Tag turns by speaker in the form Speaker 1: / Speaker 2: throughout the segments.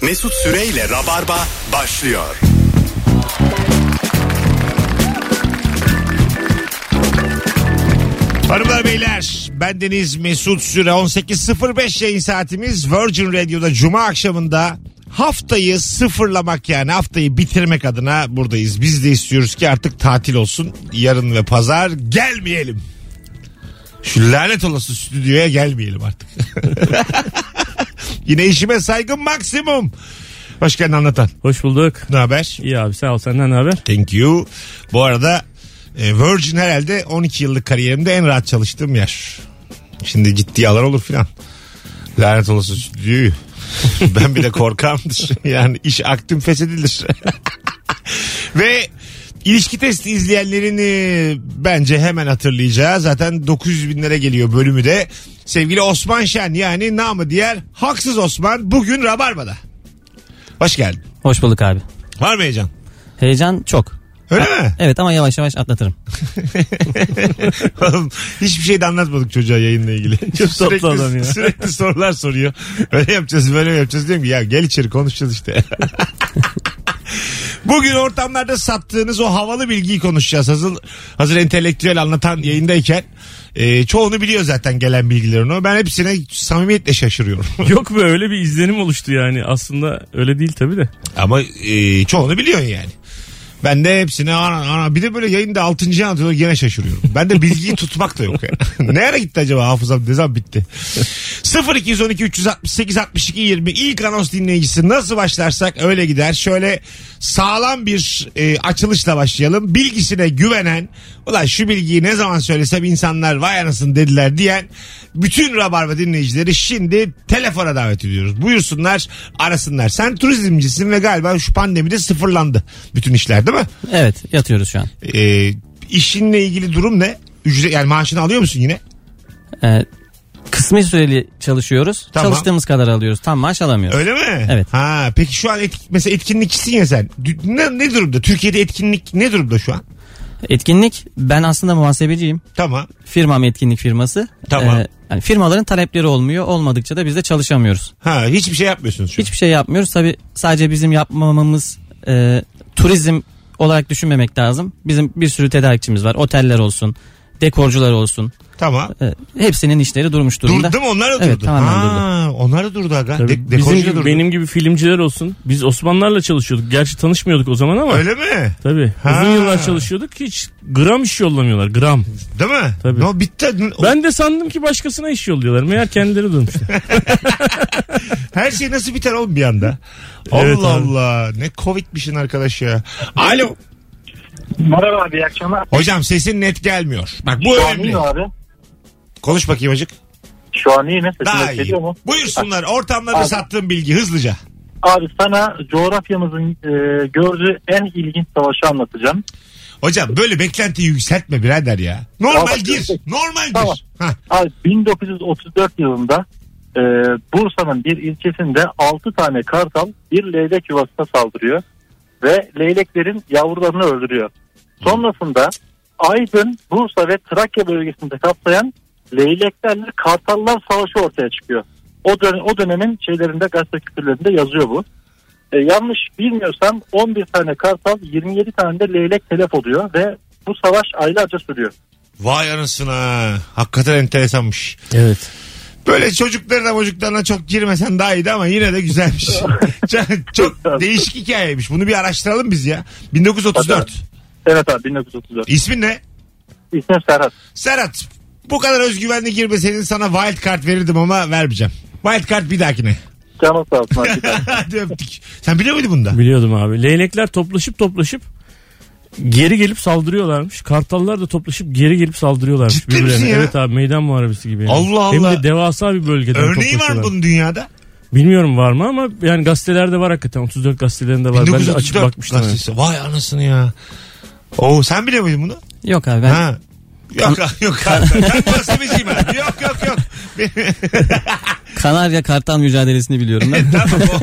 Speaker 1: Mesut Süreyle Rabarba başlıyor.
Speaker 2: Hanımlar beyler ben Deniz Mesut Süre 18.05 yayın saatimiz Virgin Radio'da Cuma akşamında haftayı sıfırlamak yani haftayı bitirmek adına buradayız. Biz de istiyoruz ki artık tatil olsun yarın ve pazar gelmeyelim. Şu lanet olası stüdyoya gelmeyelim artık. Yine işime saygı maksimum. Hoş geldin anlatan.
Speaker 3: Hoş bulduk.
Speaker 2: Ne haber?
Speaker 3: İyi abi sağ ol senden ne haber?
Speaker 2: Thank you. Bu arada e, Virgin herhalde 12 yıllık kariyerimde en rahat çalıştığım yer. Şimdi ciddi alan olur filan. Lanet olası stüdyoyu. ben bir de korkarımdır. Yani iş aktım feshedilir. Ve ilişki testi izleyenlerini bence hemen hatırlayacağı zaten 900 binlere geliyor bölümü de. Sevgili Osman Şen yani namı diğer Haksız Osman bugün Rabarba'da. Hoş geldin.
Speaker 4: Hoş bulduk abi.
Speaker 2: Var mı heyecan?
Speaker 4: Heyecan çok.
Speaker 2: Öyle mi?
Speaker 4: Evet ama yavaş yavaş atlatırım.
Speaker 2: Oğlum, hiçbir şey de anlatmadık çocuğa yayınla ilgili. sürekli,
Speaker 3: adam ya.
Speaker 2: sürekli sorular soruyor. Öyle yapacağız böyle yapacağız diyorum ki ya gel içeri konuşacağız işte. Bugün ortamlarda sattığınız o havalı bilgiyi konuşacağız. Hazır, hazır entelektüel anlatan yayındayken e, çoğunu biliyor zaten gelen bilgilerin o. Ben hepsine samimiyetle şaşırıyorum.
Speaker 3: Yok be öyle bir izlenim oluştu yani aslında öyle değil tabii de.
Speaker 2: Ama e, çoğunu biliyorsun yani. Ben de hepsine ana ana bir de böyle yayında altıncı anlatıyorlar gene şaşırıyorum. Ben de bilgiyi tutmak da yok yani. ne ara gitti acaba hafızam ne zaman bitti? 0212 368 62 20 ilk anons dinleyicisi nasıl başlarsak öyle gider. Şöyle sağlam bir e, açılışla başlayalım. Bilgisine güvenen ulan şu bilgiyi ne zaman söylesem insanlar vay anasını dediler diyen bütün Rabarba dinleyicileri şimdi telefona davet ediyoruz. Buyursunlar arasınlar. Sen turizmcisin ve galiba şu pandemide sıfırlandı bütün işler değil mi?
Speaker 4: Evet yatıyoruz şu an.
Speaker 2: Ee, işinle ilgili durum ne? Ücret, yani maaşını alıyor musun yine?
Speaker 4: Ee, kısmi süreli çalışıyoruz.
Speaker 2: Tamam.
Speaker 4: Çalıştığımız kadar alıyoruz. Tam maaş alamıyoruz.
Speaker 2: Öyle mi?
Speaker 4: Evet.
Speaker 2: Ha peki şu an etk- mesela etkinlikçisin ya sen. Dü- Ne, ne durumda? Türkiye'de etkinlik ne durumda şu an?
Speaker 4: Etkinlik ben aslında muhasebeciyim.
Speaker 2: Tamam.
Speaker 4: Firmam etkinlik firması. Ee,
Speaker 2: Tamam.
Speaker 4: yani firmaların talepleri olmuyor. Olmadıkça da biz de çalışamıyoruz.
Speaker 2: Ha hiçbir şey yapmıyorsunuz şu an.
Speaker 4: Hiçbir şey yapmıyoruz. Tabi sadece bizim yapmamamız e, turizm olarak düşünmemek lazım. Bizim bir sürü tedarikçimiz var. Oteller olsun, dekorcular olsun.
Speaker 2: Tamam.
Speaker 4: E, hepsinin işleri durmuş durumda.
Speaker 2: Durdu mu? Onlar da
Speaker 4: Evet,
Speaker 2: durdu.
Speaker 4: tamamen
Speaker 2: ha, Onlar da durdu aga.
Speaker 3: Tabii
Speaker 2: De-
Speaker 3: bizim
Speaker 2: dekorcu da
Speaker 3: gibi,
Speaker 2: durdu.
Speaker 3: benim gibi filmciler olsun. Biz Osmanlarla çalışıyorduk. Gerçi tanışmıyorduk o zaman ama.
Speaker 2: Öyle mi?
Speaker 3: Tabii.
Speaker 2: Ha.
Speaker 3: Uzun yıllar çalışıyorduk. Hiç gram iş yollamıyorlar. Gram.
Speaker 2: Değil mi?
Speaker 3: Tabii.
Speaker 2: No, bitti.
Speaker 3: Ben de sandım ki başkasına iş yolluyorlar. Meğer kendileri durmuşlar.
Speaker 2: Her şey nasıl biter oğlum bir anda?
Speaker 3: Evet
Speaker 2: Allah
Speaker 3: abi.
Speaker 2: Allah. Ne covidmişin arkadaş ya. Alo.
Speaker 5: Merhaba abi iyi akşamlar.
Speaker 2: Hocam sesin net gelmiyor. Bak bu
Speaker 5: Şu an iyi
Speaker 2: önemli.
Speaker 5: mi abi?
Speaker 2: Konuş bakayım acık.
Speaker 5: Şu an iyi mi? Sesim
Speaker 2: Daha iyi.
Speaker 5: yükseliyor mu?
Speaker 2: Buyursunlar ortamlarda
Speaker 5: Abi.
Speaker 2: sattığım bilgi hızlıca.
Speaker 5: Abi sana coğrafyamızın e, gördüğü en ilginç savaşı anlatacağım.
Speaker 2: Hocam böyle beklentiyi yükseltme birader ya. Normal
Speaker 5: Tamam.
Speaker 2: gir. Normal gir.
Speaker 5: Tamam.
Speaker 2: Hah.
Speaker 5: Abi 1934 yılında e, Bursa'nın bir ilçesinde 6 tane kartal bir leylek yuvasına saldırıyor ve leyleklerin yavrularını öldürüyor. Sonrasında Aydın, Bursa ve Trakya bölgesinde kapsayan leyleklerle kartallar savaşı ortaya çıkıyor. O, dön o dönemin şeylerinde gazete küpürlerinde yazıyor bu. E, yanlış bilmiyorsam 11 tane kartal 27 tane de leylek telef oluyor ve bu savaş aylarca sürüyor.
Speaker 2: Vay anasına. Hakikaten enteresanmış.
Speaker 3: evet.
Speaker 2: Böyle çocuklarına çocuklarına çok girmesen daha iyiydi ama yine de güzelmiş. çok, çok değişik hikayeymiş. Bunu bir araştıralım biz ya. 1934.
Speaker 5: Evet abi 1934.
Speaker 2: İsmin ne?
Speaker 5: İsmim Serhat.
Speaker 2: Serhat. Bu kadar özgüvenli girmeseydin sana wild card verirdim ama vermeyeceğim. Wild card bir dahakine.
Speaker 5: Canım sağ olsun. hakikaten.
Speaker 2: Hadi öptük. Sen biliyor muydun bunda?
Speaker 3: Biliyordum abi. Leylekler toplaşıp toplaşıp geri gelip saldırıyorlarmış. Kartallar da toplaşıp geri gelip saldırıyorlarmış
Speaker 2: Ciddi misin ya?
Speaker 3: Evet abi meydan muharebesi gibi. yani.
Speaker 2: Allah
Speaker 3: Hem
Speaker 2: Allah.
Speaker 3: de devasa bir bölgede.
Speaker 2: Örneği var mı bunun dünyada?
Speaker 3: Bilmiyorum var mı ama yani gazetelerde var hakikaten. 34 gazetelerinde var. Ben de açıp
Speaker 2: 1934
Speaker 3: bakmıştım. evet.
Speaker 2: gazetesi. Vay anasını ya. Oo sen biliyor muydun bunu?
Speaker 4: Yok abi ben
Speaker 2: Ha. Yok yok abi. Ben muhasebeciyim abi. Yok yok yok.
Speaker 4: Kanarya Kartal mücadelesini biliyorum ben.
Speaker 2: Tamam, o.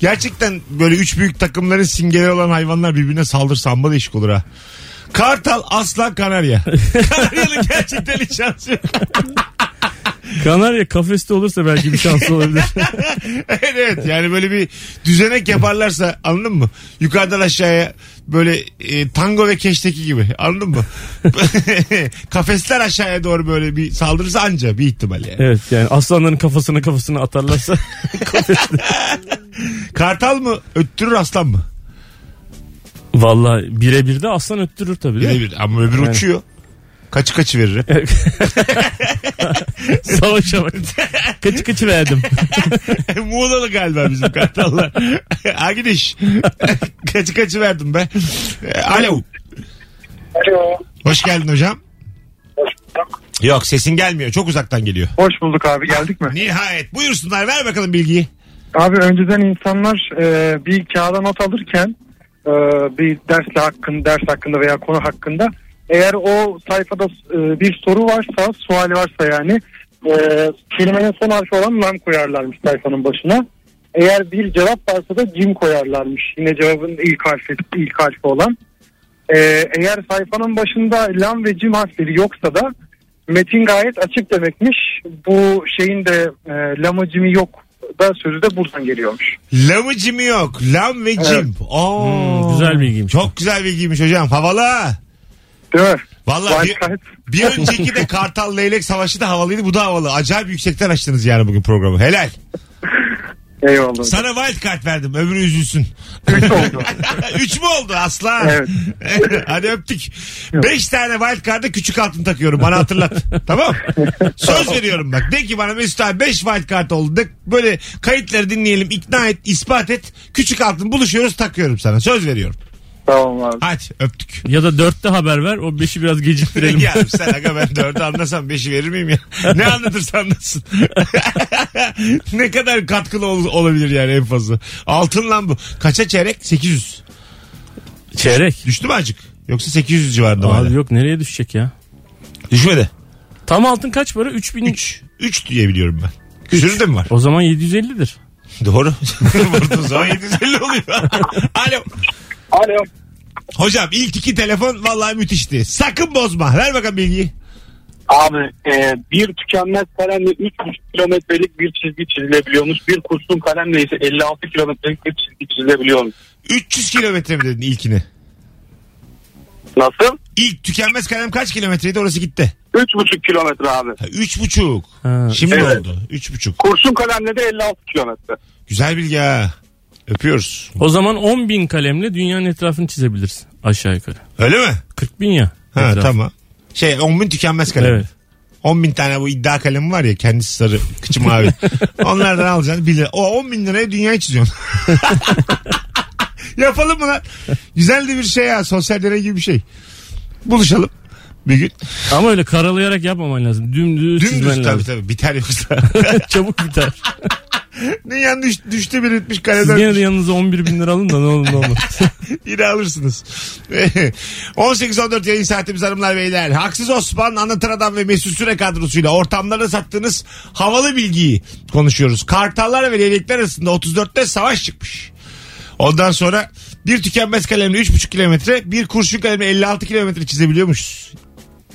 Speaker 2: Gerçekten böyle üç büyük takımların simgeleri olan hayvanlar birbirine saldır samba değişik olur ha. Kartal, aslan, kanarya. Kanaryanın gerçekten hiç şansı yok.
Speaker 3: Kanarya kafeste olursa belki bir şansı olabilir.
Speaker 2: evet yani böyle bir düzenek yaparlarsa anladın mı? Yukarıdan aşağıya böyle e, tango ve keşteki gibi anladın mı? Kafesler aşağıya doğru böyle bir saldırırsa anca bir ihtimal yani.
Speaker 3: evet yani aslanların kafasına kafasına atarlarsa kafeste.
Speaker 2: Kartal mı öttürür aslan mı?
Speaker 3: Valla birebir de aslan öttürür tabii değil mi?
Speaker 2: Birebir ama öbürü
Speaker 3: Yani.
Speaker 2: uçuyor. Kaçı kaçı verir hep.
Speaker 3: Savaşa bak. Kaçı kaçı verdim.
Speaker 2: Muğla'lı galiba bizim kartallar. Agidiş. kaçı kaçı verdim be. Ee, Alo.
Speaker 5: Alo.
Speaker 2: Hoş geldin hocam.
Speaker 5: Hoş bulduk.
Speaker 2: Yok sesin gelmiyor. Çok uzaktan geliyor.
Speaker 5: Hoş bulduk abi geldik mi?
Speaker 2: Nihayet. Buyursunlar ver bakalım bilgiyi.
Speaker 5: Abi önceden insanlar e, bir kağıda not alırken e, bir dersle hakkında, ders hakkında veya konu hakkında eğer o sayfada e, bir soru varsa, suali varsa yani e, kelimenin son harfi olan lam koyarlarmış sayfanın başına. Eğer bir cevap varsa da cim koyarlarmış. Yine cevabın ilk harfi, ilk harfi olan. E, eğer sayfanın başında lam ve cim harfleri yoksa da metin gayet açık demekmiş. Bu şeyin de e, lamı cimi yok da sözü de buradan geliyormuş.
Speaker 2: Lamı cimi yok. Lam ve cim. Oo.
Speaker 3: Hmm, güzel bilgiymiş.
Speaker 2: Çok güzel bilgiymiş hocam. Havalı. ha.
Speaker 5: Değil mi?
Speaker 2: Vallahi bir,
Speaker 5: Gayet-
Speaker 2: bir önceki de Kartal Leylek Savaşı da havalıydı. Bu da havalı. Acayip yüksekten açtınız yani bugün programı. Helal.
Speaker 5: Eyvallah.
Speaker 2: Sana wild card verdim. Öbürü üzülsün.
Speaker 5: Üç oldu.
Speaker 2: Üç mü oldu aslan?
Speaker 5: Evet.
Speaker 2: Hadi öptük. Beş tane wild card'a küçük altın takıyorum. Bana hatırlat. tamam Söz veriyorum bak. De ki bana Mesut abi beş wild card oldu. De böyle kayıtları dinleyelim. ikna et, ispat et. Küçük altın buluşuyoruz takıyorum sana. Söz veriyorum.
Speaker 5: tamam abi.
Speaker 2: Hadi öptük.
Speaker 3: Ya da dörtte haber ver o beşi biraz geciktirelim.
Speaker 2: ya sen aga ben dördü anlasam beşi verir miyim ya? Ne anlatırsan anlatsın. ne kadar katkılı ol- olabilir yani en fazla. Altın lan bu. Kaça çeyrek? 800.
Speaker 3: Çeyrek.
Speaker 2: Düştü mü acık? Yoksa 800 civarında mı?
Speaker 3: Abi
Speaker 2: hala?
Speaker 3: yok nereye düşecek ya?
Speaker 2: Düşmedi.
Speaker 3: Tam altın kaç para? 3000.
Speaker 2: 3. 3 diye biliyorum ben. Sürü de mi var?
Speaker 3: O zaman 750'dir.
Speaker 2: Doğru. Vurduğun zaman 750 oluyor. Alo.
Speaker 5: Alo.
Speaker 2: Hocam ilk iki telefon vallahi müthişti. Sakın bozma. Ver bakalım bilgiyi.
Speaker 5: Abi e, bir tükenmez kalemle 3,5 kilometrelik bir çizgi çizilebiliyormuş. Bir kurşun kalemle ise 56 kilometrelik bir çizgi çizilebiliyormuş.
Speaker 2: 300 kilometre mi dedin ilkini?
Speaker 5: Nasıl?
Speaker 2: İlk tükenmez kalem kaç kilometreydi orası gitti.
Speaker 5: 3,5 kilometre abi.
Speaker 2: Ha, Üç buçuk.
Speaker 3: Ha.
Speaker 2: Şimdi
Speaker 5: Evet.
Speaker 2: oldu. Üç buçuk.
Speaker 5: Kurşun kalemle de 56 kilometre.
Speaker 2: Güzel bilgi ha. Öpüyoruz.
Speaker 3: O zaman 10.000 kalemle dünyanın etrafını çizebilirsin aşağı yukarı.
Speaker 2: Öyle mi?
Speaker 3: 40 bin ya.
Speaker 2: Ha
Speaker 3: etrafı.
Speaker 2: tamam. Şey 10 bin tükenmez kalem.
Speaker 3: Evet.
Speaker 2: 10 bin tane bu iddia kalemi var ya kendisi sarı kıçı mavi. Onlardan alacaksın 1 lira. O 10 bin liraya dünyayı çiziyorsun. Yapalım mı lan? Güzel de bir şey ya sosyal deney gibi bir şey. Buluşalım bir gün.
Speaker 3: Ama öyle karalayarak yapmaman lazım. Dümdüz, çizmen
Speaker 2: Dümdüz tabii
Speaker 3: lazım.
Speaker 2: tabii biter yoksa.
Speaker 3: Çabuk biter.
Speaker 2: Dünyanın düş, düştü bir etmiş
Speaker 3: Siz
Speaker 2: kaleden
Speaker 3: gene de yanınıza 11 bin lira alın da ne olur ne olur.
Speaker 2: yine alırsınız. 18-14 yayın saatimiz hanımlar beyler. Haksız Osman, Anlatır Adam ve Mesut Süre kadrosuyla ortamlara sattığınız havalı bilgiyi konuşuyoruz. Kartallar ve leylekler arasında 34'te savaş çıkmış. Ondan sonra bir tükenmez kalemle 3,5 kilometre, bir kurşun kalemle 56 kilometre çizebiliyormuşuz.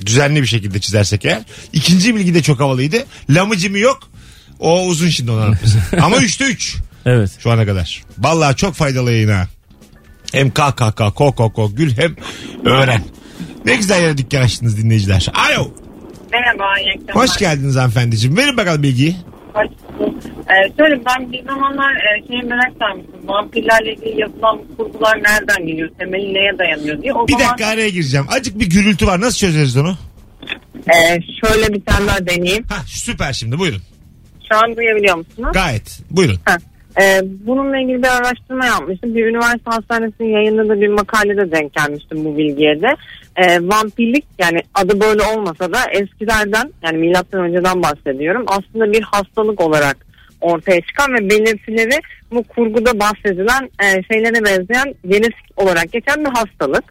Speaker 2: Düzenli bir şekilde çizersek eğer. İkinci bilgi de çok havalıydı. Lamıcımı yok. O uzun şimdi onu anlatması. Ama 3'te 3
Speaker 3: Evet.
Speaker 2: şu ana kadar. Vallahi çok faydalı yayın ha. Hem KKK, KKK, gül hem öğren. Ne güzel yere dükkan açtınız dinleyiciler. Alo.
Speaker 6: Merhaba, iyi akşamlar.
Speaker 2: Hoş geldiniz hanımefendiciğim. Verin bakalım bilgiyi.
Speaker 6: Hoş bulduk. Ee, şöyle ben bir zamanlar e, şeye merak sarmıştım. Vampirlerle ilgili yapılan bu kurgular nereden geliyor? Temeli neye dayanıyor diye. O
Speaker 2: Bir
Speaker 6: zaman
Speaker 2: dakika araya gireceğim. Acık bir gürültü var. Nasıl çözeriz onu?
Speaker 6: e, şöyle bir tane daha deneyeyim.
Speaker 2: Hah süper şimdi buyurun.
Speaker 6: Şu an duyabiliyor musunuz?
Speaker 2: Gayet. Buyurun.
Speaker 6: Ha. Ee, bununla ilgili bir araştırma yapmıştım. Bir üniversite hastanesinin yayınladığı bir makalede denk gelmiştim bu bilgiye de. Ee, vampirlik yani adı böyle olmasa da eskilerden yani milattan önceden bahsediyorum. Aslında bir hastalık olarak ortaya çıkan ve belirtileri bu kurguda bahsedilen e, şeylere benzeyen genetik olarak geçen bir hastalık.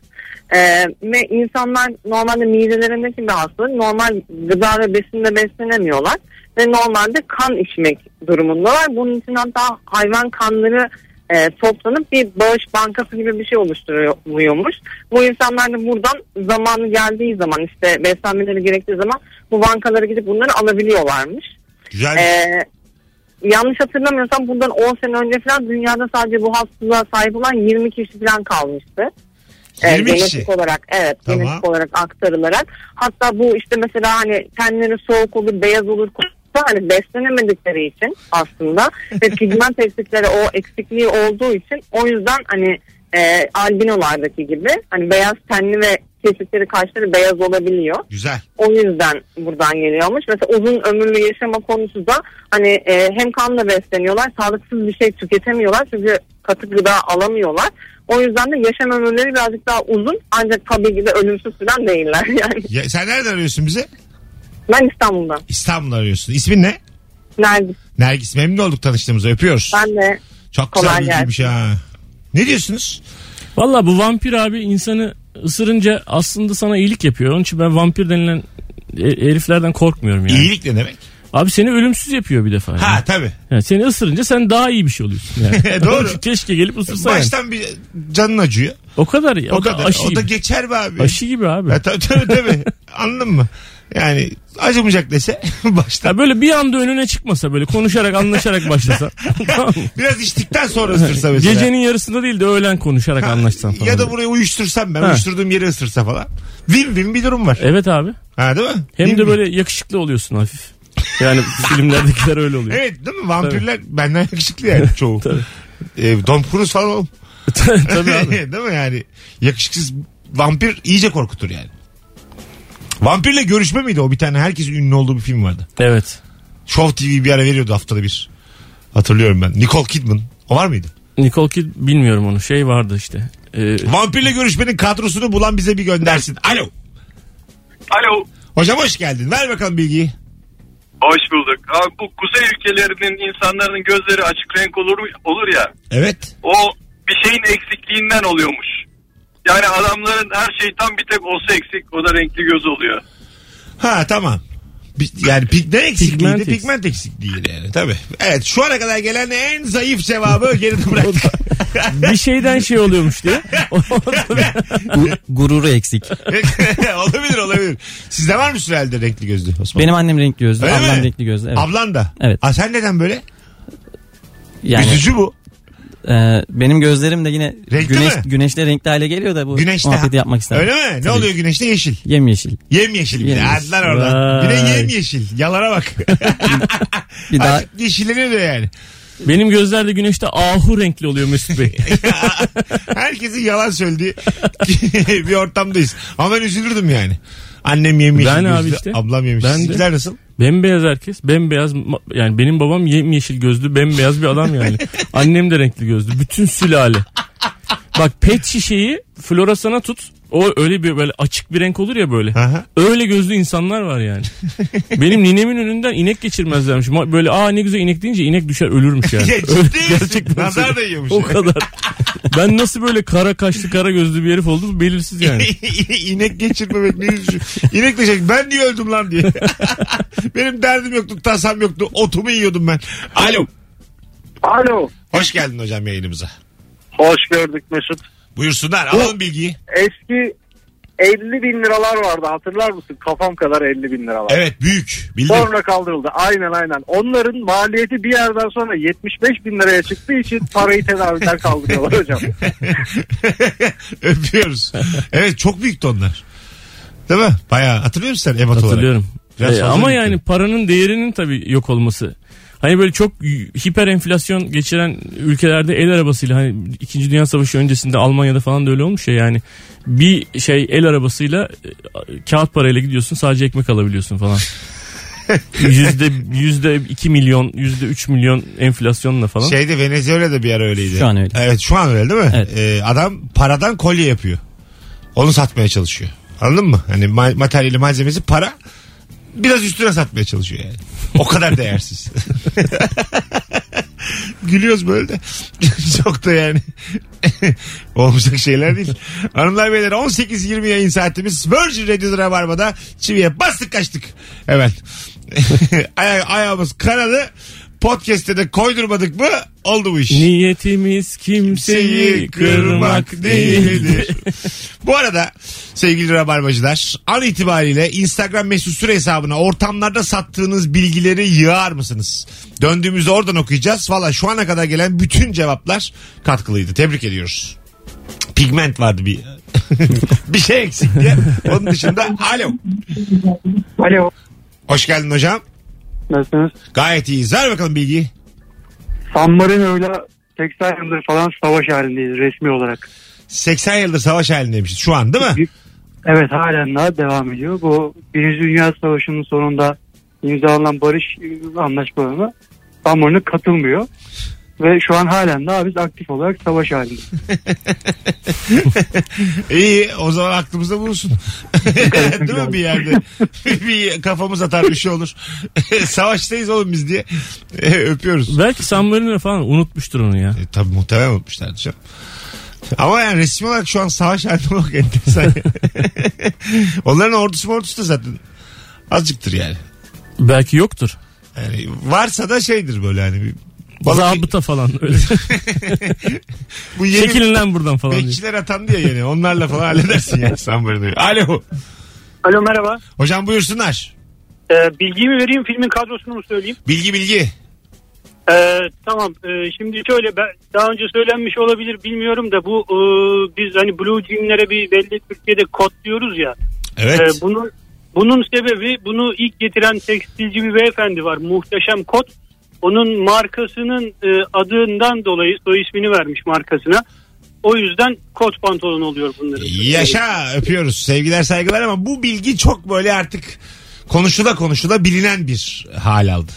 Speaker 6: Ee, ve insanlar normalde midelerindeki bir hastalık normal gıda ve besinle beslenemiyorlar ve normalde kan içmek durumundalar. Bunun için hatta hayvan kanları e, toplanıp bir bağış bankası gibi bir şey oluşturuyormuş. Bu insanlar da buradan zamanı geldiği zaman işte beslenmeleri gerektiği zaman bu bankalara gidip bunları alabiliyorlarmış.
Speaker 2: Güzel.
Speaker 6: Ee, yanlış hatırlamıyorsam bundan 10 sene önce falan dünyada sadece bu hastalığa sahip olan 20 kişi falan kalmıştı. Ee,
Speaker 2: 20 kişi.
Speaker 6: genetik olarak evet
Speaker 2: Tamam.
Speaker 6: genetik olarak aktarılarak hatta bu işte mesela hani tenleri soğuk olur beyaz olur da hani beslenemedikleri için aslında ve pigment eksikleri o eksikliği olduğu için o yüzden hani e, albinolardaki gibi hani beyaz tenli ve kesikleri kaşları beyaz olabiliyor.
Speaker 2: Güzel.
Speaker 6: O yüzden buradan geliyormuş. Mesela uzun ömürlü yaşama konusu da hani e, hem kanla besleniyorlar, sağlıksız bir şey tüketemiyorlar çünkü katı gıda alamıyorlar. O yüzden de yaşam ömürleri birazcık daha uzun ancak tabii ki de ölümsüz falan değiller yani.
Speaker 2: Ya, sen nereden arıyorsun bizi?
Speaker 6: Ben İstanbul'dan.
Speaker 2: İstanbul'dan arıyorsun. İsmin ne?
Speaker 6: Nergis.
Speaker 2: Nergis memnun olduk tanıştığımıza öpüyoruz.
Speaker 6: Ben de
Speaker 2: Çok güzel
Speaker 6: kolay
Speaker 2: bilgiymiş ha. Ne diyorsunuz?
Speaker 3: Valla bu vampir abi insanı ısırınca aslında sana iyilik yapıyor. Onun için ben vampir denilen e- heriflerden korkmuyorum yani.
Speaker 2: İyilik ne demek?
Speaker 3: Abi seni ölümsüz yapıyor bir defa. yani.
Speaker 2: Ha tabii.
Speaker 3: Yani seni ısırınca sen daha iyi bir şey oluyorsun. Yani.
Speaker 2: Doğru.
Speaker 3: Keşke gelip ısırsan. yani.
Speaker 2: Baştan bir canın acıyor.
Speaker 3: O kadar ya.
Speaker 2: O,
Speaker 3: O, kadar.
Speaker 2: kadar.
Speaker 3: Aşı
Speaker 2: o da E,
Speaker 3: gibi.
Speaker 2: geçer be abi.
Speaker 3: Aşı gibi abi.
Speaker 2: Ha, tabii tabii tabii. Anladın mı? Yani acımayacak dese baştan.
Speaker 3: Ya böyle bir anda önüne çıkmasa böyle konuşarak anlaşarak başlasa. Tamam mı?
Speaker 2: Biraz içtikten sonra ısırsa mesela.
Speaker 3: Gecenin yarısında değil de öğlen konuşarak anlaşsan falan.
Speaker 2: Ya da burayı uyuştursam ben
Speaker 3: Ha.
Speaker 2: uyuşturduğum yeri ısırsa falan. Vim vim bir durum var.
Speaker 3: Evet abi.
Speaker 2: Ha değil mi?
Speaker 3: Hem
Speaker 2: Vim
Speaker 3: de
Speaker 2: vim.
Speaker 3: böyle yakışıklı oluyorsun hafif. Yani filmlerdekiler öyle oluyor.
Speaker 2: Evet değil mi? Vampirler benden yakışıklı yani çoğu. Ee, Tom Cruise falan oğlum.
Speaker 3: Tabii abi.
Speaker 2: değil mi yani? Yakışıksız vampir iyice korkutur yani. Vampirle görüşme miydi o bir tane herkesin ünlü olduğu bir film vardı.
Speaker 3: Evet.
Speaker 2: Show TV bir ara veriyordu haftada bir. Hatırlıyorum ben. Nicole Kidman. O var mıydı?
Speaker 3: Nicole Kid bilmiyorum onu. Şey vardı işte. Ee,
Speaker 2: Vampirle görüşmenin kadrosunu bulan bize bir göndersin. Alo.
Speaker 7: Alo.
Speaker 2: Hocam hoş geldin. Ver bakalım bilgiyi.
Speaker 7: Hoş bulduk. Abi bu kuzey ülkelerinin insanların gözleri açık renk olur olur ya.
Speaker 2: Evet.
Speaker 7: O bir şeyin eksikliğinden oluyormuş. Yani adamların her şey tam bir tek olsa eksik o da renkli göz oluyor.
Speaker 2: Ha tamam. Bi- Yani pig ne eksikliğiydi?
Speaker 3: Pigment
Speaker 2: Pigment,
Speaker 3: eksik.
Speaker 2: eksikliğiydi yani tabii. Evet şu ana kadar gelen en zayıf cevabı geride bıraktık.
Speaker 3: bir şeyden şey oluyormuş diye.
Speaker 4: Gu- gururu eksik.
Speaker 2: olabilir olabilir. Sizde var mı sürelde renkli gözlü Osman?
Speaker 4: Benim annem renkli gözlü,
Speaker 2: Öyle
Speaker 4: ablam
Speaker 2: mi?
Speaker 4: renkli gözlü. Evet.
Speaker 2: Ablan da.
Speaker 4: Evet.
Speaker 2: Aa, sen neden böyle?
Speaker 4: Yani
Speaker 2: Üzücü bu.
Speaker 4: e, benim gözlerim de yine
Speaker 2: Renkli
Speaker 4: güneş
Speaker 2: mi?
Speaker 4: güneşle renkli hale geliyor da bu
Speaker 2: Güneşte.
Speaker 4: muhabbeti yapmak istedim.
Speaker 2: Öyle mi? Ne
Speaker 4: Tabii.
Speaker 2: oluyor güneşte? Yeşil.
Speaker 4: Yemyeşil.
Speaker 2: Yemyeşil bir de.
Speaker 4: Yemyeşil.
Speaker 2: Hadi lan oradan. Bir de
Speaker 3: Vay.
Speaker 2: yemyeşil. Yalara bak.
Speaker 4: Bir daha
Speaker 2: Azıcık yeşillenir de yani.
Speaker 3: Benim gözlerde güneşte ahu renkli oluyor Mesut Bey.
Speaker 2: Herkesin yalan söylediği bir ortamdayız. Ama ben üzülürdüm yani. Annem yemiş.
Speaker 3: Ben abi işte.
Speaker 2: Ablam yemiş.
Speaker 3: Ben de.
Speaker 2: Sizler nasıl?
Speaker 3: Bembeyaz herkes. Bembeyaz ma- yani benim babam yemyeşil gözlü bembeyaz bir adam yani. Annem de renkli gözlü. Bütün sülale. Bak pet şişeyi florasana tut. O öyle bir böyle açık bir renk olur ya böyle.
Speaker 2: Aha.
Speaker 3: Öyle gözlü insanlar var yani. Benim ninemin önünden inek geçirmezlermiş. Ma- Böyle aa ne güzel inek deyince inek düşer ölürmüş yani.
Speaker 2: Ya
Speaker 3: Öyle-
Speaker 2: ciddi misin?
Speaker 3: gerçekten
Speaker 2: Nazar
Speaker 3: söylüyorum.
Speaker 2: da yiyormuş.
Speaker 3: O kadar. Ben nasıl böyle kara kaşlı kara gözlü bir herif oldum belirsiz yani.
Speaker 2: İnek geçirmemek ne üzücü. İnek diyecek ben niye öldüm lan diye. Benim derdim yoktu, tasam yoktu. Otumu yiyordum ben. Alo.
Speaker 5: Alo.
Speaker 2: Hoş geldin hocam yayınımıza.
Speaker 5: Hoş gördük Mesut.
Speaker 2: Buyursunlar alalım bilgiyi.
Speaker 5: Eski 50 bin liralar vardı hatırlar mısın? Kafam kadar 50 bin lira var.
Speaker 2: Evet büyük. Bildim.
Speaker 5: Sonra kaldırıldı. Aynen aynen. Onların maliyeti bir yerden sonra 75 bin liraya çıktığı için parayı tedaviden kaldırıyorlar hocam.
Speaker 2: Öpüyoruz. Evet çok büyüktü onlar. Değil mi? Bayağı hatırlıyor musun sen ebat olarak?
Speaker 3: Hatırlıyorum.
Speaker 2: Biraz
Speaker 3: Ee,
Speaker 2: fazla
Speaker 3: ama
Speaker 2: gitti.
Speaker 3: yani paranın değerinin tabii yok olması. Hani böyle çok y- hiper enflasyon geçiren ülkelerde el arabasıyla hani 2. Dünya Savaşı öncesinde Almanya'da falan da öyle olmuş ya yani bir şey el arabasıyla e, kağıt parayla gidiyorsun sadece ekmek alabiliyorsun falan. yüzde yüzde 2 milyon yüzde 3 milyon enflasyonla falan.
Speaker 2: Şeyde Venezuela'da bir ara öyleydi.
Speaker 4: Şu an öyle.
Speaker 2: Evet şu an öyle değil mi?
Speaker 4: Evet.
Speaker 2: Ee, adam paradan kolye yapıyor. Onu satmaya çalışıyor. Anladın mı? Hani ma- materyali malzemesi para biraz üstüne satmaya çalışıyor yani. O kadar değersiz. Gülüyoruz böyle de. Çok da yani olmayacak şeyler değil. Hanımlar beyler 18-20 yayın saatimiz Virgin Radio'da Rabarba'da çiviye bastık kaçtık. Hemen. Aya- ayağımız kanadı. Podcast'te de koydurmadık mı oldu bu iş.
Speaker 3: Niyetimiz kimseyi kırmak değildir.
Speaker 2: Bu arada sevgili Rabarbacılar an itibariyle Instagram mesut süre hesabına ortamlarda sattığınız bilgileri yığar mısınız? Döndüğümüzde oradan okuyacağız. Valla şu ana kadar gelen bütün cevaplar katkılıydı. Tebrik ediyoruz. Pigment vardı bir bir şey eksik diye. Onun dışında alo.
Speaker 5: Alo.
Speaker 2: Hoş geldin hocam.
Speaker 5: Nasılsınız?
Speaker 2: Gayet iyiyiz. Ver bakalım bilgiyi.
Speaker 5: San Marino'yla 80 yıldır falan savaş halindeyiz resmi olarak.
Speaker 2: 80 yıldır savaş halindeymişiz şu an değil mi?
Speaker 5: Evet halen daha devam ediyor. Bu Birinci Dünya Savaşı'nın sonunda imzalanan barış anlaşmalarına San Marino katılmıyor. Ve şu an halen daha biz aktif olarak savaş halindeyiz.
Speaker 2: İyi o zaman aklımızda bulunsun. Değil mi bir yerde? bir kafamız atar bir şey olur. Savaştayız oğlum biz diye. E, öpüyoruz.
Speaker 3: Belki San Marino falan unutmuştur onu ya.
Speaker 2: E, tabii muhtemelen unutmuşlardır canım. Ama yani resmi olarak şu an savaş halinde olmak enteresan. yani. Onların ordusu ordusu da zaten azıcıktır yani.
Speaker 3: Belki yoktur.
Speaker 2: yani. Varsa da şeydir böyle hani. bir-
Speaker 3: Zabıta falan öyle.
Speaker 2: bu yeni
Speaker 3: Çekilin lan buradan falan. diye.
Speaker 2: bekçiler atandı ya yeni. Onlarla falan halledersin yani San Marino'yu. Alo.
Speaker 5: Alo merhaba.
Speaker 2: Hocam buyursunlar.
Speaker 5: Ee, bilgiyi mi vereyim filmin kadrosunu mu söyleyeyim?
Speaker 2: Bilgi bilgi.
Speaker 5: Ee, tamam Ee, şimdi şöyle ben, daha önce söylenmiş olabilir bilmiyorum da bu e, biz hani Blue Jean'lere bir belli Türkiye'de kod diyoruz ya.
Speaker 2: Evet.
Speaker 5: Ee, bunun bunun sebebi bunu ilk getiren tekstilci bir beyefendi var. Muhteşem Kot. Onun markasının e, adından dolayı soy ismini vermiş markasına. O yüzden kot pantolon oluyor bunların.
Speaker 2: Yaşa öpüyoruz. Sevgiler saygılar ama bu bilgi çok böyle artık konuşula konuşula bilinen bir hal aldı.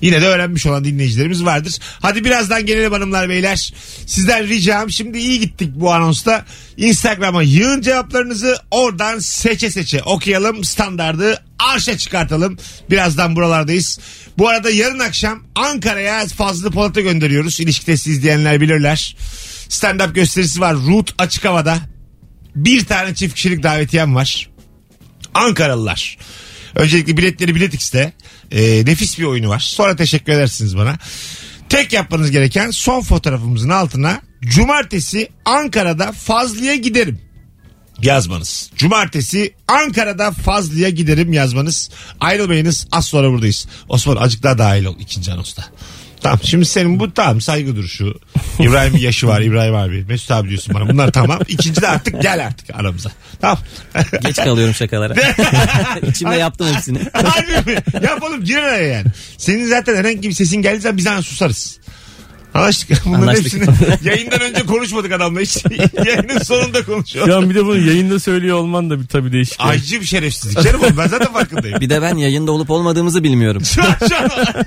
Speaker 2: Yine de öğrenmiş olan dinleyicilerimiz vardır. Hadi birazdan gelelim hanımlar beyler. Sizden ricam şimdi iyi gittik bu anonsta. Instagram'a yığın cevaplarınızı oradan seçe seçe okuyalım. Standardı arşa çıkartalım. Birazdan buralardayız. Bu arada yarın akşam Ankara'ya Fazlı Polat'ı gönderiyoruz. İlişki testi izleyenler bilirler. Stand-up gösterisi var. Root açık havada. Bir tane çift kişilik davetiyem var. Ankaralılar. Öncelikle biletleri Bilet X'te. Ee, nefis bir oyunu var. Sonra teşekkür edersiniz bana. Tek yapmanız gereken son fotoğrafımızın altına cumartesi Ankara'da Fazlı'ya giderim yazmanız. Cumartesi Ankara'da Fazlı'ya giderim yazmanız. Ayrılmayınız az sonra buradayız. Osman acık daha dahil ol ikinci anosta. Tamam şimdi senin bu tamam saygı duruşu. İbrahim yaşı var İbrahim abi. Mesut abi diyorsun bana bunlar tamam. İkinci de artık gel artık aramıza. Tamam.
Speaker 4: Geç kalıyorum şakalara. İçimde yaptım hepsini.
Speaker 2: Harbi mi? Yap oğlum gir araya yani. Senin zaten herhangi bir sesin geldiği zaman biz hemen susarız. Anlaştık. Bunların
Speaker 4: Anlaştık.
Speaker 2: hepsini yayından önce konuşmadık adamla hiç. Yayının sonunda
Speaker 3: Şu
Speaker 2: konuşuyoruz.
Speaker 3: an bir de bunu yayında söylüyor olman da bir tabii değişik. yani.
Speaker 2: Aycı bir şerefsizlik. Canım oğlum ben zaten farkındayım.
Speaker 4: Bir de ben yayında olup olmadığımızı bilmiyorum.
Speaker 2: Şu an, şu an-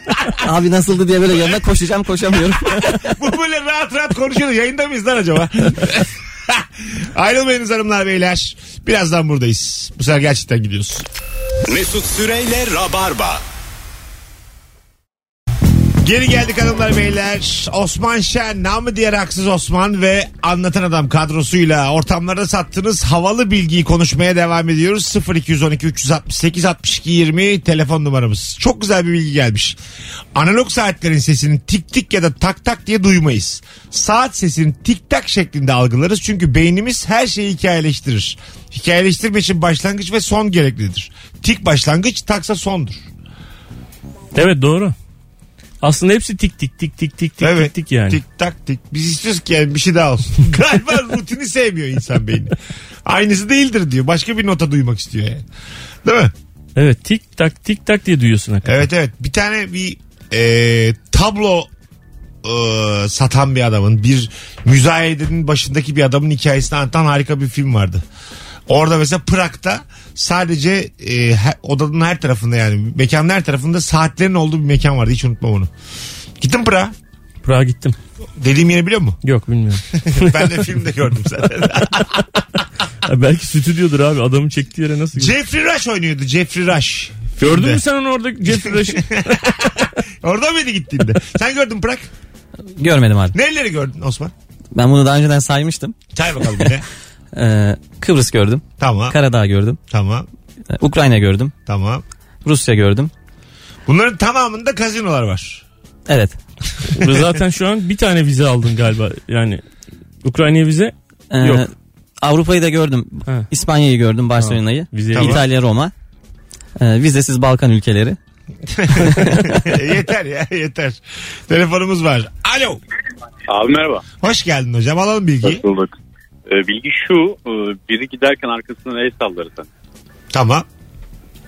Speaker 4: Abi nasıldı diye böyle yanına koşacağım koşamıyorum.
Speaker 2: bu böyle rahat rahat konuşuyoruz. Yayında mıyız lan acaba? Ayrılmayınız hanımlar beyler. Birazdan buradayız. Bu sefer gerçekten gidiyoruz.
Speaker 1: Mesut Süreyle Rabarba.
Speaker 2: Geri geldik hanımlar beyler. Osman Şen, namı diğer haksız Osman ve anlatan adam kadrosuyla ortamlarda sattığınız havalı bilgiyi konuşmaya devam ediyoruz. 0212 368 62 20 telefon numaramız. Çok güzel bir bilgi gelmiş. Analog saatlerin sesini tik tik ya da tak tak diye duymayız. Saat sesini tik tak şeklinde algılarız çünkü beynimiz her şeyi hikayeleştirir. Hikayeleştirme için başlangıç ve son gereklidir. Tik başlangıç, taksa sondur.
Speaker 3: Evet doğru. Aslında hepsi tik tik tik tik tik tik
Speaker 2: Evet.
Speaker 3: tik tik yani.
Speaker 2: Tik tak tik. Biz istiyoruz ki yani bir şey daha olsun. Galiba rutini sevmiyor insan beyni. Aynısı değildir diyor. Başka bir nota duymak istiyor yani. Değil mi?
Speaker 3: Evet tik tak tik tak diye duyuyorsun hakikaten.
Speaker 2: Evet evet. Bir tane bir e, tablo e, satan bir adamın bir müzayedenin başındaki bir adamın hikayesini anlatan harika bir film vardı. Orada mesela Prag'da sadece e, he- odanın her tarafında yani mekanın her tarafında saatlerin olduğu bir mekan vardı. Hiç unutmam onu. Gittim Prag'a.
Speaker 3: Prag'a gittim.
Speaker 2: Dediğim yeri biliyor musun?
Speaker 3: Yok bilmiyorum.
Speaker 2: ben de filmde gördüm zaten.
Speaker 3: Ha, belki stüdyodur abi adamın çektiği yere nasıl gidiyor?
Speaker 2: Jeffrey Rush oynuyordu. Jeffrey Rush.
Speaker 3: Gördün
Speaker 2: Filmde.
Speaker 3: mü sen onu orada Jeffrey Rush'ı?
Speaker 2: Orada mıydı gittiğinde? Sen gördün Prag.
Speaker 4: Görmedim abi.
Speaker 2: Nereleri gördün Osman?
Speaker 4: Ben bunu daha önceden saymıştım.
Speaker 2: Çay bakalım yine.
Speaker 4: Ee, Kıbrıs gördüm.
Speaker 2: tamam.
Speaker 4: Karadağ gördüm.
Speaker 2: tamam.
Speaker 4: Ee, Ukrayna gördüm.
Speaker 2: Tamam.
Speaker 4: Rusya gördüm.
Speaker 2: Bunların tamamında kazinolar var.
Speaker 4: Evet.
Speaker 3: Ve zaten şu an bir tane vize aldın galiba. Yani Ukrayna'ya vize
Speaker 4: Ee,
Speaker 3: Yok.
Speaker 4: Avrupa'yı da gördüm.
Speaker 3: Ha.
Speaker 4: İspanya'yı gördüm, Barcelona'yı.
Speaker 3: vize
Speaker 2: Tamam.
Speaker 4: İtalya, Roma. Ee, vizesiz Balkan ülkeleri.
Speaker 2: yeter ya yeter. Telefonumuz var. Alo.
Speaker 8: Abi merhaba.
Speaker 2: Hoş geldin hocam. Alalım bilgiyi.
Speaker 8: Hoş bulduk. Ee, bilgi şu, e, biri giderken arkasından el sallarsan.
Speaker 2: Tamam.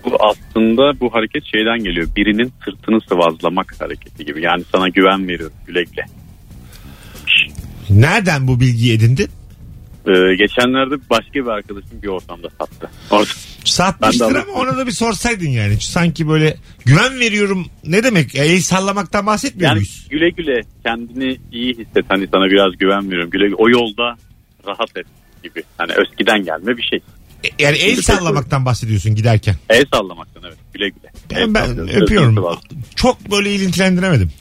Speaker 8: Bu aslında bu hareket şeyden geliyor. Birinin sırtını sıvazlamak hareketi gibi. Yani sana güven veriyorum güle güle.
Speaker 2: Nereden bu bilgiyi edindin?
Speaker 8: Ee, geçenlerde başka bir arkadaşım bir ortamda sattı. Orada
Speaker 2: Satmıştır
Speaker 8: Ben de
Speaker 2: ama ona da bir sorsaydın yani. Sanki böyle güven veriyorum ne demek? E, El sallamaktan bahsetmiyor
Speaker 8: Yani
Speaker 2: muyuz?
Speaker 8: güle güle kendini iyi hisset. Hani sana biraz güven veriyorum. Güle güle. O yolda rahat et gibi. Hani öskiden gelme bir şey.
Speaker 2: E, Yani el sallamaktan bahsediyorsun giderken.
Speaker 8: El sallamaktan evet. Güle güle.
Speaker 2: Ben,
Speaker 8: El
Speaker 2: ben
Speaker 8: sallıyorsun,
Speaker 2: öpüyorum.
Speaker 8: sırtını sıvaz-
Speaker 2: Çok böyle ilintilendiremedim.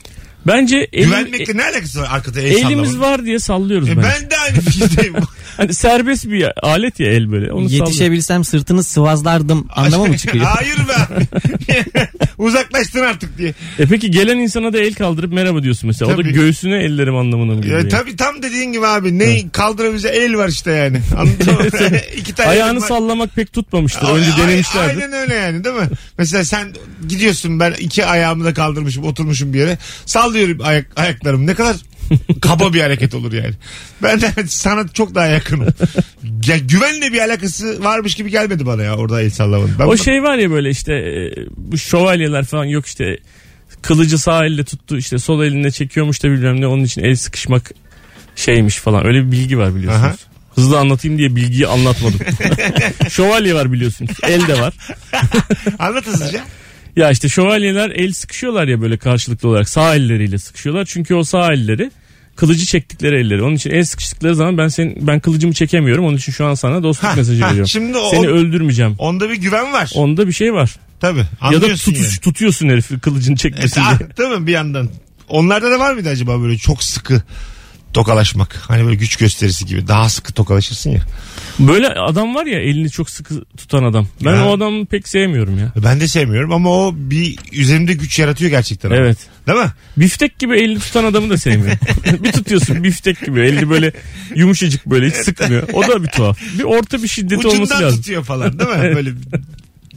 Speaker 3: Bence elin-
Speaker 2: Güvenmekle ne alakası var arkada el
Speaker 3: elimiz
Speaker 2: sallamak?
Speaker 3: var diye sallıyoruz
Speaker 2: E,
Speaker 3: bence.
Speaker 2: ben de aynı fikirdeyim.
Speaker 3: Hani serbest bir alet ya el böyle. Onu sallıyor.
Speaker 4: Yetişebilsem sırtını sıvazlardım anlamı mı çıkıyor?
Speaker 2: Hayır be. abi. Uzaklaştın artık diye.
Speaker 3: E peki gelen insana da el kaldırıp merhaba diyorsun mesela. O da
Speaker 2: Tabii.
Speaker 3: göğsüne ellerim anlamına mı geliyor?
Speaker 2: Ya,
Speaker 3: yani?
Speaker 2: tabii tam dediğin gibi abi. Ne kaldırabileceği el var işte yani. Anladın mı? İki tane
Speaker 3: Ayağını
Speaker 2: elim var.
Speaker 3: sallamak pek tutmamıştır. Önce
Speaker 2: Ay-
Speaker 3: denemişlerdi.
Speaker 2: Aynen öyle yani değil mi? Mesela sen gidiyorsun ben iki ayağımı da kaldırmışım oturmuşum bir yere. Sallıyorum ayak, ayaklarımı ne kadar kaba bir hareket olur yani. Ben de sana çok daha yakınım. Ya güvenle bir alakası varmış gibi gelmedi bana ya orada el sallamanın. Ben
Speaker 3: O şey var ya böyle işte e, bu şövalyeler falan yok işte kılıcı sağ elle tuttu işte sol eline çekiyormuş da bilmem ne onun için el sıkışmak şeymiş falan öyle bir bilgi var biliyorsunuz.
Speaker 2: Aha.
Speaker 3: Hızlı anlatayım diye bilgiyi anlatmadım. Şövalye var biliyorsunuz. El de var.
Speaker 2: Anlat hızlıca.
Speaker 3: Ya işte şövalyeler el sıkışıyorlar ya böyle karşılıklı olarak sağ elleriyle sıkışıyorlar. Çünkü o sağ elleri kılıcı çektikleri elleri. Onun için el sıkıştıkları zaman ben senin ben kılıcımı çekemiyorum. Onun için şu an sana dostluk
Speaker 2: Ha,
Speaker 3: mesajı
Speaker 2: ha,
Speaker 3: veriyorum.
Speaker 2: şimdi o-
Speaker 3: Seni öldürmeyeceğim.
Speaker 2: Onda bir güven var.
Speaker 3: Onda bir şey var.
Speaker 2: Tabii.
Speaker 3: Ya da
Speaker 2: Anlıyorsun
Speaker 3: tutuş, tutuyorsun herifi kılıcını çekmesin
Speaker 2: yani.
Speaker 3: diye.
Speaker 2: E, Değil mi bir yandan? Onlarda da var mıydı acaba böyle çok sıkı tokalaşmak? Hani böyle güç gösterisi gibi daha sıkı tokalaşırsın ya.
Speaker 3: Böyle adam var ya elini çok sıkı tutan adam. Ben
Speaker 2: Ha.
Speaker 3: o adamı pek sevmiyorum ya.
Speaker 2: Ben de sevmiyorum ama o bir üzerimde güç yaratıyor gerçekten. ama.
Speaker 3: Evet.
Speaker 2: Değil mi?
Speaker 3: Biftek gibi elini tutan adamı da sevmiyorum. bir tutuyorsun biftek gibi. Elini böyle yumuşacık böyle hiç sıkmıyor. O da bir tuhaf. Bir orta bir şiddet olması
Speaker 2: Ucundan
Speaker 3: lazım.
Speaker 2: tutuyor falan değil mi? Böyle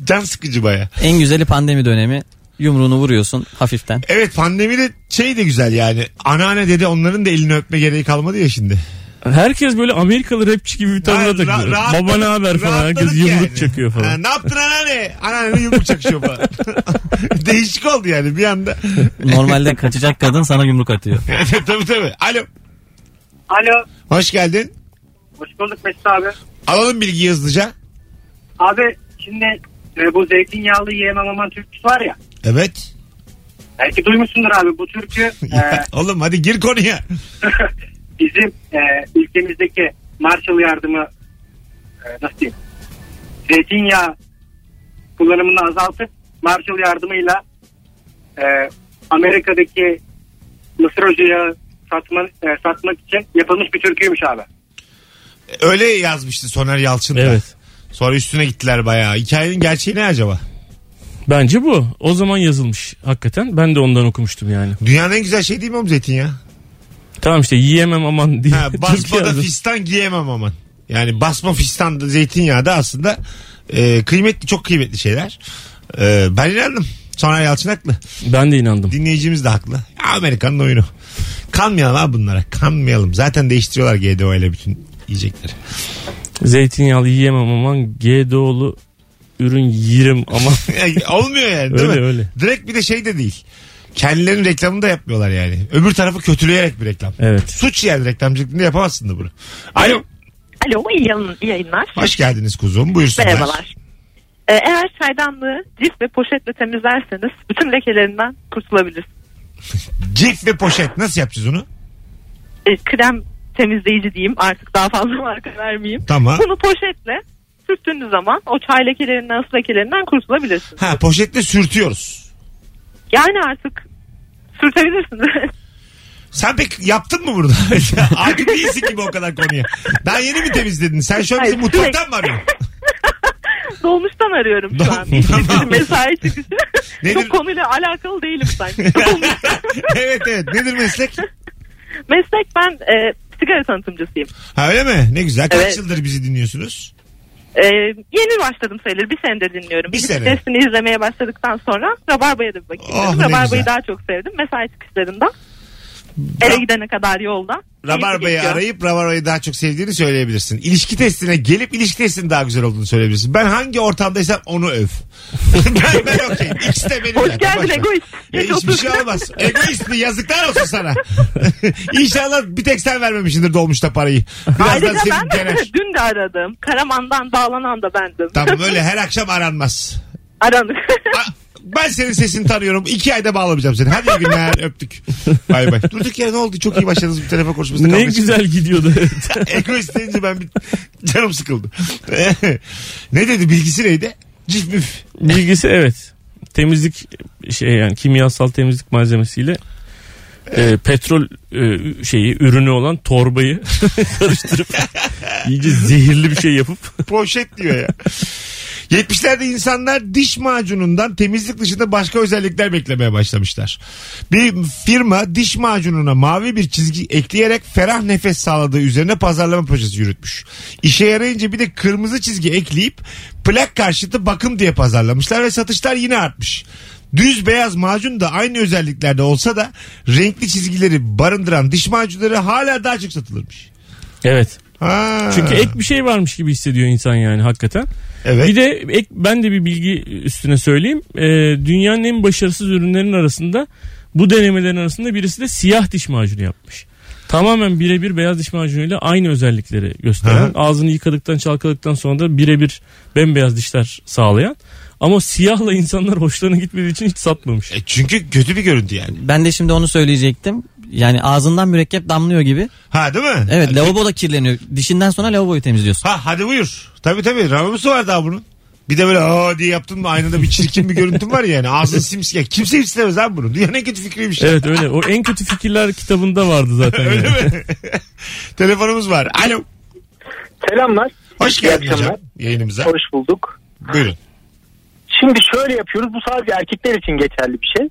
Speaker 2: can sıkıcı baya.
Speaker 4: En güzeli pandemi dönemi. Yumruğunu vuruyorsun hafiften.
Speaker 2: Evet pandemide şey de güzel yani. Anneanne dede onların da elini öpme gereği kalmadı ya şimdi.
Speaker 3: Herkes böyle Amerikalı rapçi gibi bir tavra
Speaker 2: Ha, ra-
Speaker 3: takılıyor.
Speaker 2: rahatladık-
Speaker 3: Baba ne haber falan. Herkes
Speaker 2: rahatladık
Speaker 3: yumruk
Speaker 2: yani.
Speaker 3: çakıyor
Speaker 2: Ha,
Speaker 3: falan.
Speaker 2: ne yaptın anneanne? Anneanne yumruk çakışıyor falan. Değişik oldu yani bir anda.
Speaker 4: Normalde kaçacak kadın sana yumruk atıyor.
Speaker 2: tabii tabii. Alo.
Speaker 5: Alo.
Speaker 2: Hoş geldin.
Speaker 5: Hoş bulduk Mesut abi.
Speaker 2: Alalım bilgiyi hızlıca.
Speaker 5: Abi şimdi e, bu zeytinyağlı yiyemem aman türküsü var ya.
Speaker 2: Evet.
Speaker 5: Belki duymuşsundur abi bu türkü e,
Speaker 2: Ya, Oğlum hadi gir konuya.
Speaker 5: bizim e, ülkemizdeki Marshall yardımı e, nasıl diyeyim? Zeytinyağı kullanımını azaltıp Marshall yardımıyla e, Amerika'daki mısır ocağı satma, e, satmak için yapılmış bir türküymüş abi.
Speaker 2: Öyle yazmıştı Soner Yalçın da.
Speaker 3: Evet.
Speaker 2: Sonra üstüne gittiler bayağı. Hikayenin gerçeği ne acaba?
Speaker 3: Bence bu. O zaman yazılmış hakikaten. Ben de ondan okumuştum yani.
Speaker 2: Dünyanın en güzel şey değil mi oğlum zeytinyağı?
Speaker 3: Tamam işte yiyemem aman diye.
Speaker 2: Ha,
Speaker 3: Türkiye
Speaker 2: basma da
Speaker 3: yazdı.
Speaker 2: fistan giyemem aman. Yani basma fistan da zeytinyağı da aslında e, kıymetli çok kıymetli şeyler. E, ben inandım. Sonra Yalçın haklı.
Speaker 3: Ben de inandım.
Speaker 2: Dinleyicimiz de haklı. Ya, Amerikan'ın oyunu. Kanmayalım abi bunlara. Kanmayalım. Zaten değiştiriyorlar GDO ile bütün yiyecekleri.
Speaker 3: Zeytinyağlı yiyemem aman GDO'lu ürün yerim ama
Speaker 2: Yani Olmuyor yani değil
Speaker 3: Öyle,
Speaker 2: mi?
Speaker 3: öyle.
Speaker 2: Direkt bir de şey de değil. Kendilerinin reklamını da yapmıyorlar yani. Öbür tarafı kötüleyerek bir reklam.
Speaker 3: evet.
Speaker 2: Suç yani reklamcılıkta yapamazsın da bunu. Alo.
Speaker 9: Alo iyi yayın- iyi yayınlar.
Speaker 2: Hoş geldiniz kuzum. Buyursunlar.
Speaker 9: Merhabalar. Ee, eğer çaydanlığı cif ve poşetle temizlerseniz bütün lekelerinden kurtulabilirsiniz.
Speaker 2: Cif ve poşet. Nasıl yapacağız onu?
Speaker 9: Ee, krem temizleyici diyeyim artık daha fazla marka vermeyeyim.
Speaker 2: Tamam.
Speaker 9: Bunu poşetle sürttüğünüz zaman o çay lekelerinden su lekelerinden kurtulabilirsiniz.
Speaker 2: Ha poşetle sürtüyoruz.
Speaker 9: Yani artık sürtebilirsiniz.
Speaker 2: Sen pek yaptın mı burada? Hakim değilsin gibi o kadar konuya. Daha yeni mi temizledin? Sen şu an
Speaker 9: Hayır,
Speaker 2: bizim mutfaktan
Speaker 9: sürekli.
Speaker 2: mı arıyorsun?
Speaker 9: Dolmuştan arıyorum şu an.
Speaker 2: Tamam.
Speaker 9: Mesai çıkışı.
Speaker 2: Nedir?
Speaker 9: Çok konuyla alakalı değilim sanki.
Speaker 2: evet evet. Nedir meslek?
Speaker 9: Meslek ben e, sigara tanıtımcısıyım.
Speaker 2: Ha öyle mi? Ne güzel. Kaç
Speaker 9: Evet.
Speaker 2: yıldır bizi dinliyorsunuz?
Speaker 9: E, yeni başladım sayılır. Bir senedir dinliyorum.
Speaker 2: Bir
Speaker 9: Biz
Speaker 2: sene.
Speaker 9: Sesini izlemeye başladıktan sonra Rabarba'ya da bir bakayım
Speaker 2: Oh,
Speaker 9: dedim.
Speaker 2: ne
Speaker 9: Rabarba'yı
Speaker 2: güzel.
Speaker 9: daha çok sevdim. Mesai çıkışlarında. Eve gidene kadar yolda.
Speaker 2: Rabarba'yı
Speaker 9: Geçiyor.
Speaker 2: arayıp Rabarba'yı daha çok sevdiğini söyleyebilirsin. İlişki testine gelip ilişki testinin daha güzel olduğunu söyleyebilirsin. Ben hangi ortamdaysam onu öv. ben ben okeyim. İkisi de benim.
Speaker 9: Hoş
Speaker 2: zaten.
Speaker 9: geldin
Speaker 2: Boş ver.
Speaker 9: egoist.
Speaker 2: Ya
Speaker 9: Geç
Speaker 2: hiçbir
Speaker 9: otur.
Speaker 2: şey olmaz. Egoist mi? Yazıklar olsun sana. İnşallah bir tek sen vermemişsindir dolmuşta parayı. Birazdan
Speaker 9: Ayrıca
Speaker 2: seni
Speaker 9: ben
Speaker 2: gener.
Speaker 9: dün de aradım. Karaman'dan bağlanan da bendim.
Speaker 2: Tamam öyle her akşam aranmaz.
Speaker 9: Aranır.
Speaker 2: A- Ben senin sesini tanıyorum. İki ayda bağlamayacağım seni. Hadi iyi günler öptük. Bay bay. Durduk yere ne oldu? Çok iyi başladınız bu telefon konuşmasında.
Speaker 3: Ne
Speaker 2: kavga için.
Speaker 3: güzel gidiyordu.
Speaker 2: Egoist deyince ben bir canım sıkıldı. ne dedi bilgisi neydi? Cif müf.
Speaker 3: Bilgisi evet. Temizlik şey yani kimyasal temizlik malzemesiyle e, petrol e, şeyi ürünü olan torbayı karıştırıp iyice zehirli bir şey yapıp
Speaker 2: Poşet diyor ya. 70'lerde insanlar diş macunundan temizlik dışında başka özellikler beklemeye başlamışlar. Bir firma diş macununa mavi bir çizgi ekleyerek ferah nefes sağladığı üzerine pazarlama projesi yürütmüş. İşe yarayınca bir de kırmızı çizgi ekleyip plak karşıtı bakım diye pazarlamışlar ve satışlar yine artmış. Düz beyaz macun da aynı özelliklerde olsa da renkli çizgileri barındıran diş macunları hala daha çok satılırmış.
Speaker 3: evet.
Speaker 2: Ha.
Speaker 3: Çünkü ek bir şey varmış gibi hissediyor insan yani hakikaten.
Speaker 2: evet.
Speaker 3: Bir de ek, ben de bir bilgi üstüne söyleyeyim. Ee, dünyanın en başarısız ürünlerin arasında bu denemelerin arasında birisi de siyah diş macunu yapmış. Tamamen birebir beyaz diş macunuyla aynı özellikleri gösteren,
Speaker 2: Hı
Speaker 3: ağzını yıkadıktan çalkaladıktan sonra da birebir bembeyaz dişler sağlayan. Ama siyahla insanlar hoşlarına gitmediği için hiç satmamış.
Speaker 2: E çünkü kötü bir görüntü yani.
Speaker 4: Ben de şimdi onu söyleyecektim. Yani ağzından mürekkep damlıyor gibi.
Speaker 2: Ha değil mi?
Speaker 4: Evet lavabo da kirleniyor. Dişinden sonra lavaboyu temizliyorsun.
Speaker 2: Ha hadi buyur. Tabii tabii. Ramamusu var daha bunun. Bir de böyle aa diye yaptın mı aynada bir çirkin bir görüntün var yani. Ağzın simsiyah. Kimse istemez abi bunu. Dünyanın en kötü fikriymiş.
Speaker 3: Evet öyle. O en kötü fikirler kitabında vardı zaten. yani.
Speaker 2: Telefonumuz var. Alo.
Speaker 5: Selamlar.
Speaker 2: Hoş
Speaker 5: İyi
Speaker 2: geldin
Speaker 5: akşamlar.
Speaker 2: hocam yayınımıza.
Speaker 5: Hoş bulduk.
Speaker 2: Buyurun.
Speaker 5: Şimdi şöyle yapıyoruz. Bu sadece erkekler için geçerli bir şey.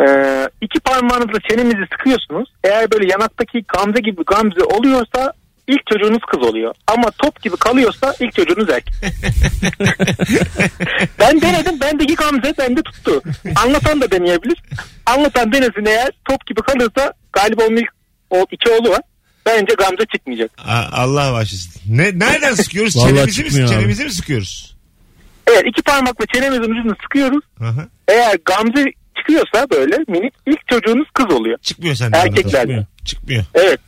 Speaker 5: Ee, iki parmağınızla çenenizi sıkıyorsunuz. Eğer böyle yanaktaki gamze gibi gamze oluyorsa ilk çocuğunuz kız oluyor. Ama top gibi kalıyorsa ilk çocuğunuz erkek. ben denedim. Bendeki gamze bende tuttu. Anlatan da deneyebilir. Anlatan denesin eğer top gibi kalırsa galiba onun ilk o, iki oğlu var. Bence gamze çıkmayacak.
Speaker 2: Aa, Allah bağışlasın. Ne, nereden sıkıyoruz?
Speaker 3: Vallahi
Speaker 2: çenemizi mi,
Speaker 3: çıkmıyor abi.
Speaker 2: çenemizi mi sıkıyoruz?
Speaker 5: Evet iki parmakla çenemizin ucunu sıkıyoruz.
Speaker 2: Aha.
Speaker 5: Eğer gamze çıkıyorsa böyle minik ilk çocuğunuz kız oluyor.
Speaker 2: Çıkmıyor senden.
Speaker 5: Erkekler.
Speaker 2: anlatan. Çıkmıyor.
Speaker 5: Evet.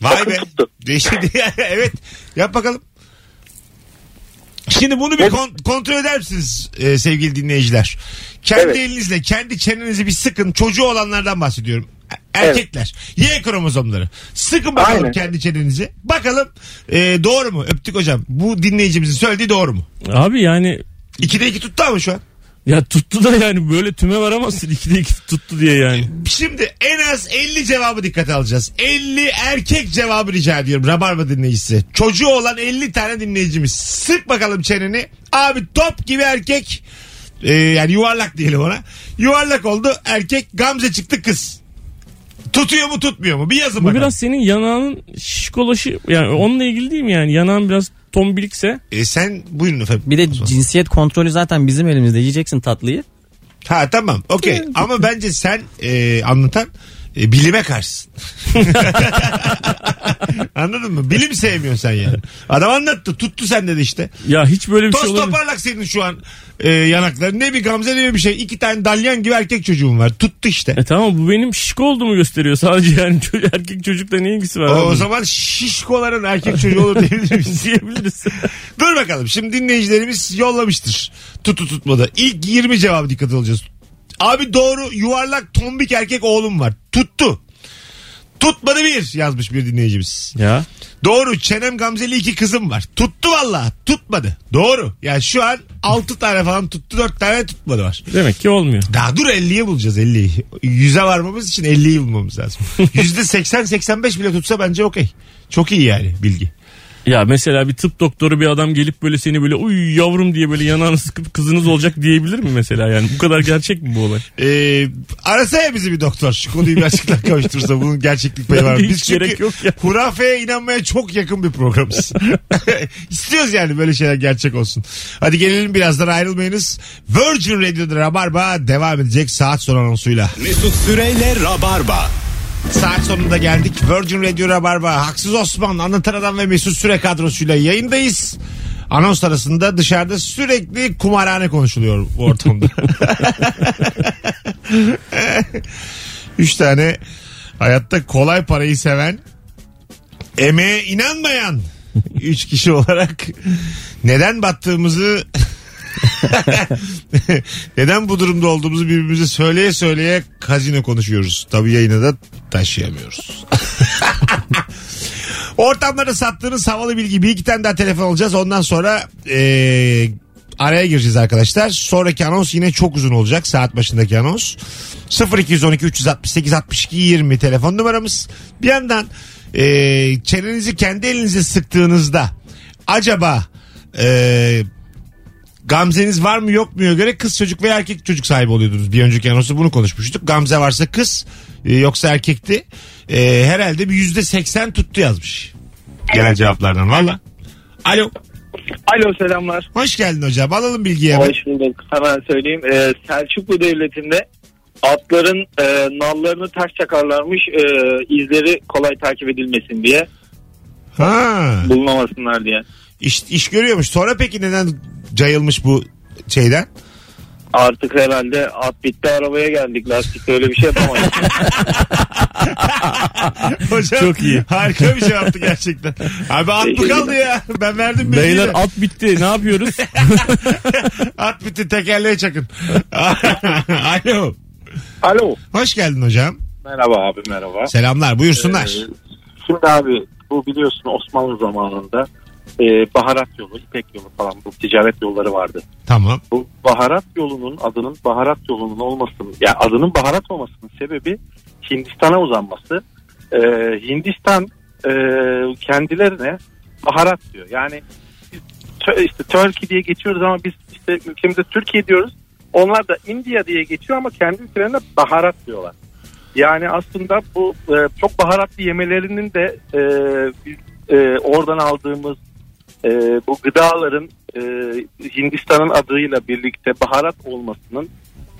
Speaker 2: Vay
Speaker 5: Bakın
Speaker 2: be.
Speaker 5: tuttu.
Speaker 2: Değişti. evet. Yap bakalım. Şimdi bunu bir kon- kontrol eder misiniz e, sevgili dinleyiciler? Kendi
Speaker 5: Evet.
Speaker 2: elinizle, kendi çenenizi bir sıkın. Çocuğu olanlardan bahsediyorum. E- Erkekler. Y kromozomları. Sıkın bakalım
Speaker 5: Aynen.
Speaker 2: kendi çenenizi. Bakalım e, doğru mu? Öptük hocam. Bu dinleyicimizin söylediği doğru mu?
Speaker 3: Abi yani
Speaker 2: İkide iki tuttu ama şu an.
Speaker 3: ya tuttu da yani böyle tüme varamazsın. İkide iki tuttu diye yani.
Speaker 2: Şimdi en az 50 cevabı dikkate alacağız. 50 erkek cevabı rica ediyorum Rabarba dinleyicisi. Çocuğu olan 50 tane dinleyicimiz. Sık bakalım çeneni. Abi top gibi erkek. Ee, yani yuvarlak diyelim ona. Yuvarlak oldu erkek. Gamze çıktı kız. Tutuyor mu tutmuyor mu? Bir yazın
Speaker 3: Bu
Speaker 2: bakalım.
Speaker 3: biraz senin yanağının şişkolaşı yani onunla ilgili değil mi yani yanağın biraz tombilikse
Speaker 2: E, sen buyurun efendim.
Speaker 4: Bir
Speaker 2: O
Speaker 4: de
Speaker 2: zaman.
Speaker 4: cinsiyet kontrolü zaten bizim elimizde. Yiyeceksin tatlıyı.
Speaker 2: Ha tamam okey. Ama bence sen e, anlatan e, bilime karşısın. Anladın mı? Bilim sevmiyorsun sen yani. Adam anlattı tuttu sende de işte.
Speaker 3: ya hiç böyle bir şey
Speaker 2: Toz
Speaker 3: olur.
Speaker 2: toparlak senin şu an e, yanakların. Ne bir gamze ne bir şey. İki tane dalyan gibi erkek çocuğum var. Tuttu işte.
Speaker 3: E tamam bu benim şişko olduğumu gösteriyor sadece yani ço- erkek çocukla ne ilgisi var?
Speaker 2: O, o
Speaker 3: abi?
Speaker 2: zaman şişkoların erkek çocuğu olur diyebilir miyiz?
Speaker 3: diyebiliriz.
Speaker 2: Dur bakalım. Şimdi dinleyicilerimiz yollamıştır. Tutu tutmadı. İlk 20 cevabı dikkat alacağız. Abi doğru yuvarlak tombik erkek oğlum var. Tuttu. Tutmadı bir yazmış bir dinleyicimiz.
Speaker 3: ya
Speaker 2: Doğru çenem gamzeli iki kızım var. Tuttu valla tutmadı. Doğru. Yani şu an 6 tane falan tuttu 4 tane tutmadı var.
Speaker 3: demek ki olmuyor.
Speaker 2: Daha dur 50'ye bulacağız 50'yi. 100'e varmamız için 50'yi bulmamız lazım. %80-85 bile tutsa bence okey. Çok iyi yani bilgi.
Speaker 3: Ya mesela bir tıp doktoru bir adam gelip böyle seni böyle uy yavrum diye böyle yanağını sıkıp kızınız olacak diyebilir mi mesela yani? Bu kadar gerçek mi bu olay?
Speaker 2: Ee, arasa ya bizi bir doktor şu konuyu bir açıklık kavuşturursa bunun gerçeklik payı
Speaker 3: Bence
Speaker 2: var. mı?
Speaker 3: hiç
Speaker 2: Biz çünkü
Speaker 3: gerek yok ya.
Speaker 2: hurafeye inanmaya çok yakın bir programız. İstiyoruz yani böyle şeyler gerçek olsun. Hadi gelelim birazdan ayrılmayınız. Virgin Radio'da Rabarba devam edecek saat sonu anonsuyla.
Speaker 1: Mesut Süreyle Rabarba.
Speaker 2: Saat sonunda geldik. Virgin Radio Rabarba, Haksız Osman, Anlatan Adam ve Mesut Süre kadrosuyla yayındayız. Anons arasında dışarıda sürekli kumarhane konuşuluyor bu ortamda. Üç tane hayatta kolay parayı seven, emeğe inanmayan üç kişi olarak neden battığımızı Neden bu durumda olduğumuzu birbirimize söyleye söyleye kazino konuşuyoruz. Tabii yayına da taşıyamıyoruz. Ortamlarda sattığınız havalı bilgi bir iki tane daha telefon alacağız. Ondan sonra eee, araya gireceğiz arkadaşlar. Sonraki anons yine çok uzun olacak. Saat başındaki anons. 0212 368 62 20 telefon numaramız. Bir yandan eee, çenenizi kendi elinize sıktığınızda acaba e, eee Gamzeniz var mı yok muya göre kız çocuk veya erkek çocuk sahibi oluyordunuz. Bir önceki anonsu bunu konuşmuştuk. Gamze varsa kız e, yoksa erkekti. E, herhalde bir yüzde seksen tuttu yazmış. Gelen cevaplardan valla. Alo.
Speaker 10: Alo selamlar.
Speaker 2: Hoş geldin hocam. Alalım bilgiyi hemen.
Speaker 10: Hoş bulduk. Hemen söyleyeyim. Ee, Selçuklu Devleti'nde atların e, nallarını taş çakarlarmış e, izleri kolay takip edilmesin diye
Speaker 2: Ha.
Speaker 10: bulunamasınlar diye.
Speaker 2: İş, iş görüyormuş. Sonra peki neden cayılmış bu şeyden?
Speaker 10: Artık herhalde at bitti arabaya geldik lastik öyle bir şey yapamayız.
Speaker 2: Hocam,
Speaker 3: Çok iyi.
Speaker 2: Harika bir şey yaptı gerçekten. Abi at mı kaldı ya? Ben verdim bilgiyi.
Speaker 3: Beyler
Speaker 2: de.
Speaker 3: at bitti ne yapıyoruz?
Speaker 2: at bitti tekerleğe çakın. Alo.
Speaker 10: Alo.
Speaker 2: Hoş geldin hocam.
Speaker 8: Merhaba abi merhaba.
Speaker 2: Selamlar buyursunlar.
Speaker 8: Ee, şimdi abi bu biliyorsun Osmanlı zamanında e, baharat yolu, İpek yolu falan bu ticaret yolları vardı.
Speaker 2: Tamam.
Speaker 8: Bu baharat yolunun adının baharat yolunun olmasının yani adının baharat olmasının sebebi Hindistan'a uzanması. Ee, Hindistan e, kendilerine baharat diyor. Yani biz tö- işte Turkey diye geçiyoruz ama biz işte ülkemizde Türkiye diyoruz. Onlar da India diye geçiyor ama kendi ülkelerine baharat diyorlar. Yani aslında bu e, çok baharatlı yemelerinin de e, biz, e, oradan aldığımız e, bu gıdaların e, Hindistan'ın adıyla birlikte baharat olmasının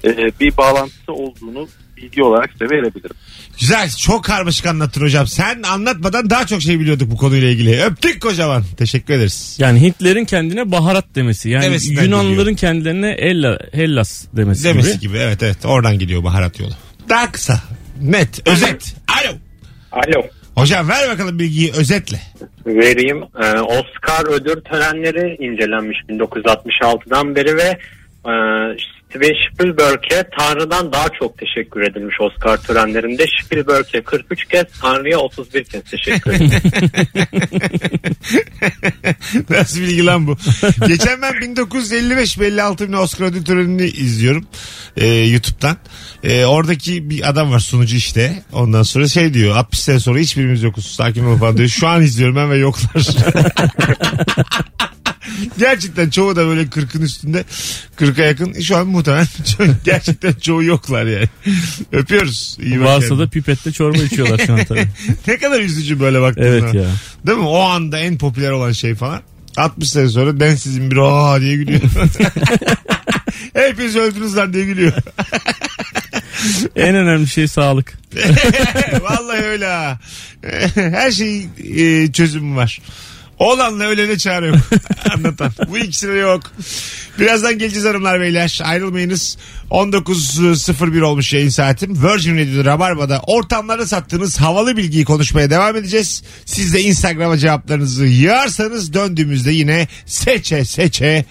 Speaker 8: e, bir bağlantısı olduğunu bilgi olarak size verebilirim.
Speaker 2: Güzel. Çok karmaşık anlattın hocam. Sen anlatmadan daha çok şey biliyorduk bu konuyla ilgili. Öptük kocaman. Teşekkür ederiz.
Speaker 3: Yani Hintlerin kendine baharat demesi. Yani
Speaker 2: Demesinden
Speaker 3: Yunanların
Speaker 2: geliyor.
Speaker 3: kendilerine Ella, Hellas demesi,
Speaker 2: Demesi
Speaker 3: gibi.
Speaker 2: gibi. Evet evet. Oradan gidiyor baharat yolu. Daha kısa. Net. Özet. Alo.
Speaker 10: Alo.
Speaker 2: Hocam ver bakalım bilgiyi özetle.
Speaker 10: vereyim. Ee, Oscar ödül törenleri incelenmiş 1966'dan beri ve e, Steven Spielberg'e Tanrı'dan daha çok teşekkür edilmiş Oscar törenlerinde. Spielberg'e 43 kez, Tanrı'ya 31 kez teşekkür edilmiş.
Speaker 2: Nasıl bilgi lan bu? Geçen ben 1955 ve 56 bin Oscar ödül törenini izliyorum e, YouTube'dan. E, oradaki bir adam var sunucu işte. Ondan sonra şey diyor 60 sene sonra hiçbirimiz yokuz sakin ol falan diyor. Şu an izliyorum ben ve yoklar. Gerçekten çoğu da böyle 40'ın üstünde 40'a yakın. Şu an muhtemelen ço- gerçekten çoğu yoklar yani. Öpüyoruz. İyi bak
Speaker 3: Varsa
Speaker 2: kendine.
Speaker 3: da pipette çorba içiyorlar şu an tabii.
Speaker 2: Ne kadar üzücü böyle baktığında.
Speaker 3: Evet ya.
Speaker 2: Değil mi? O anda en popüler olan şey falan. 60 sene sonra ben sizin bir aa diye gülüyor. Hepiniz öldünüz lan diye gülüyor.
Speaker 3: En önemli şey sağlık.
Speaker 2: Vallahi öyle ha. Her şeyin e, çözümü var. Olanla ölene çare yok. Anlatan. Bu ikisine yok. Birazdan geleceğiz hanımlar beyler. Ayrılmayınız. 19.01 olmuş yayın saatim. Virgin Radio Rabarba'da ortamlarda sattığınız havalı bilgiyi konuşmaya devam edeceğiz. Siz de Instagram'a cevaplarınızı yığarsanız döndüğümüzde yine seçe seçe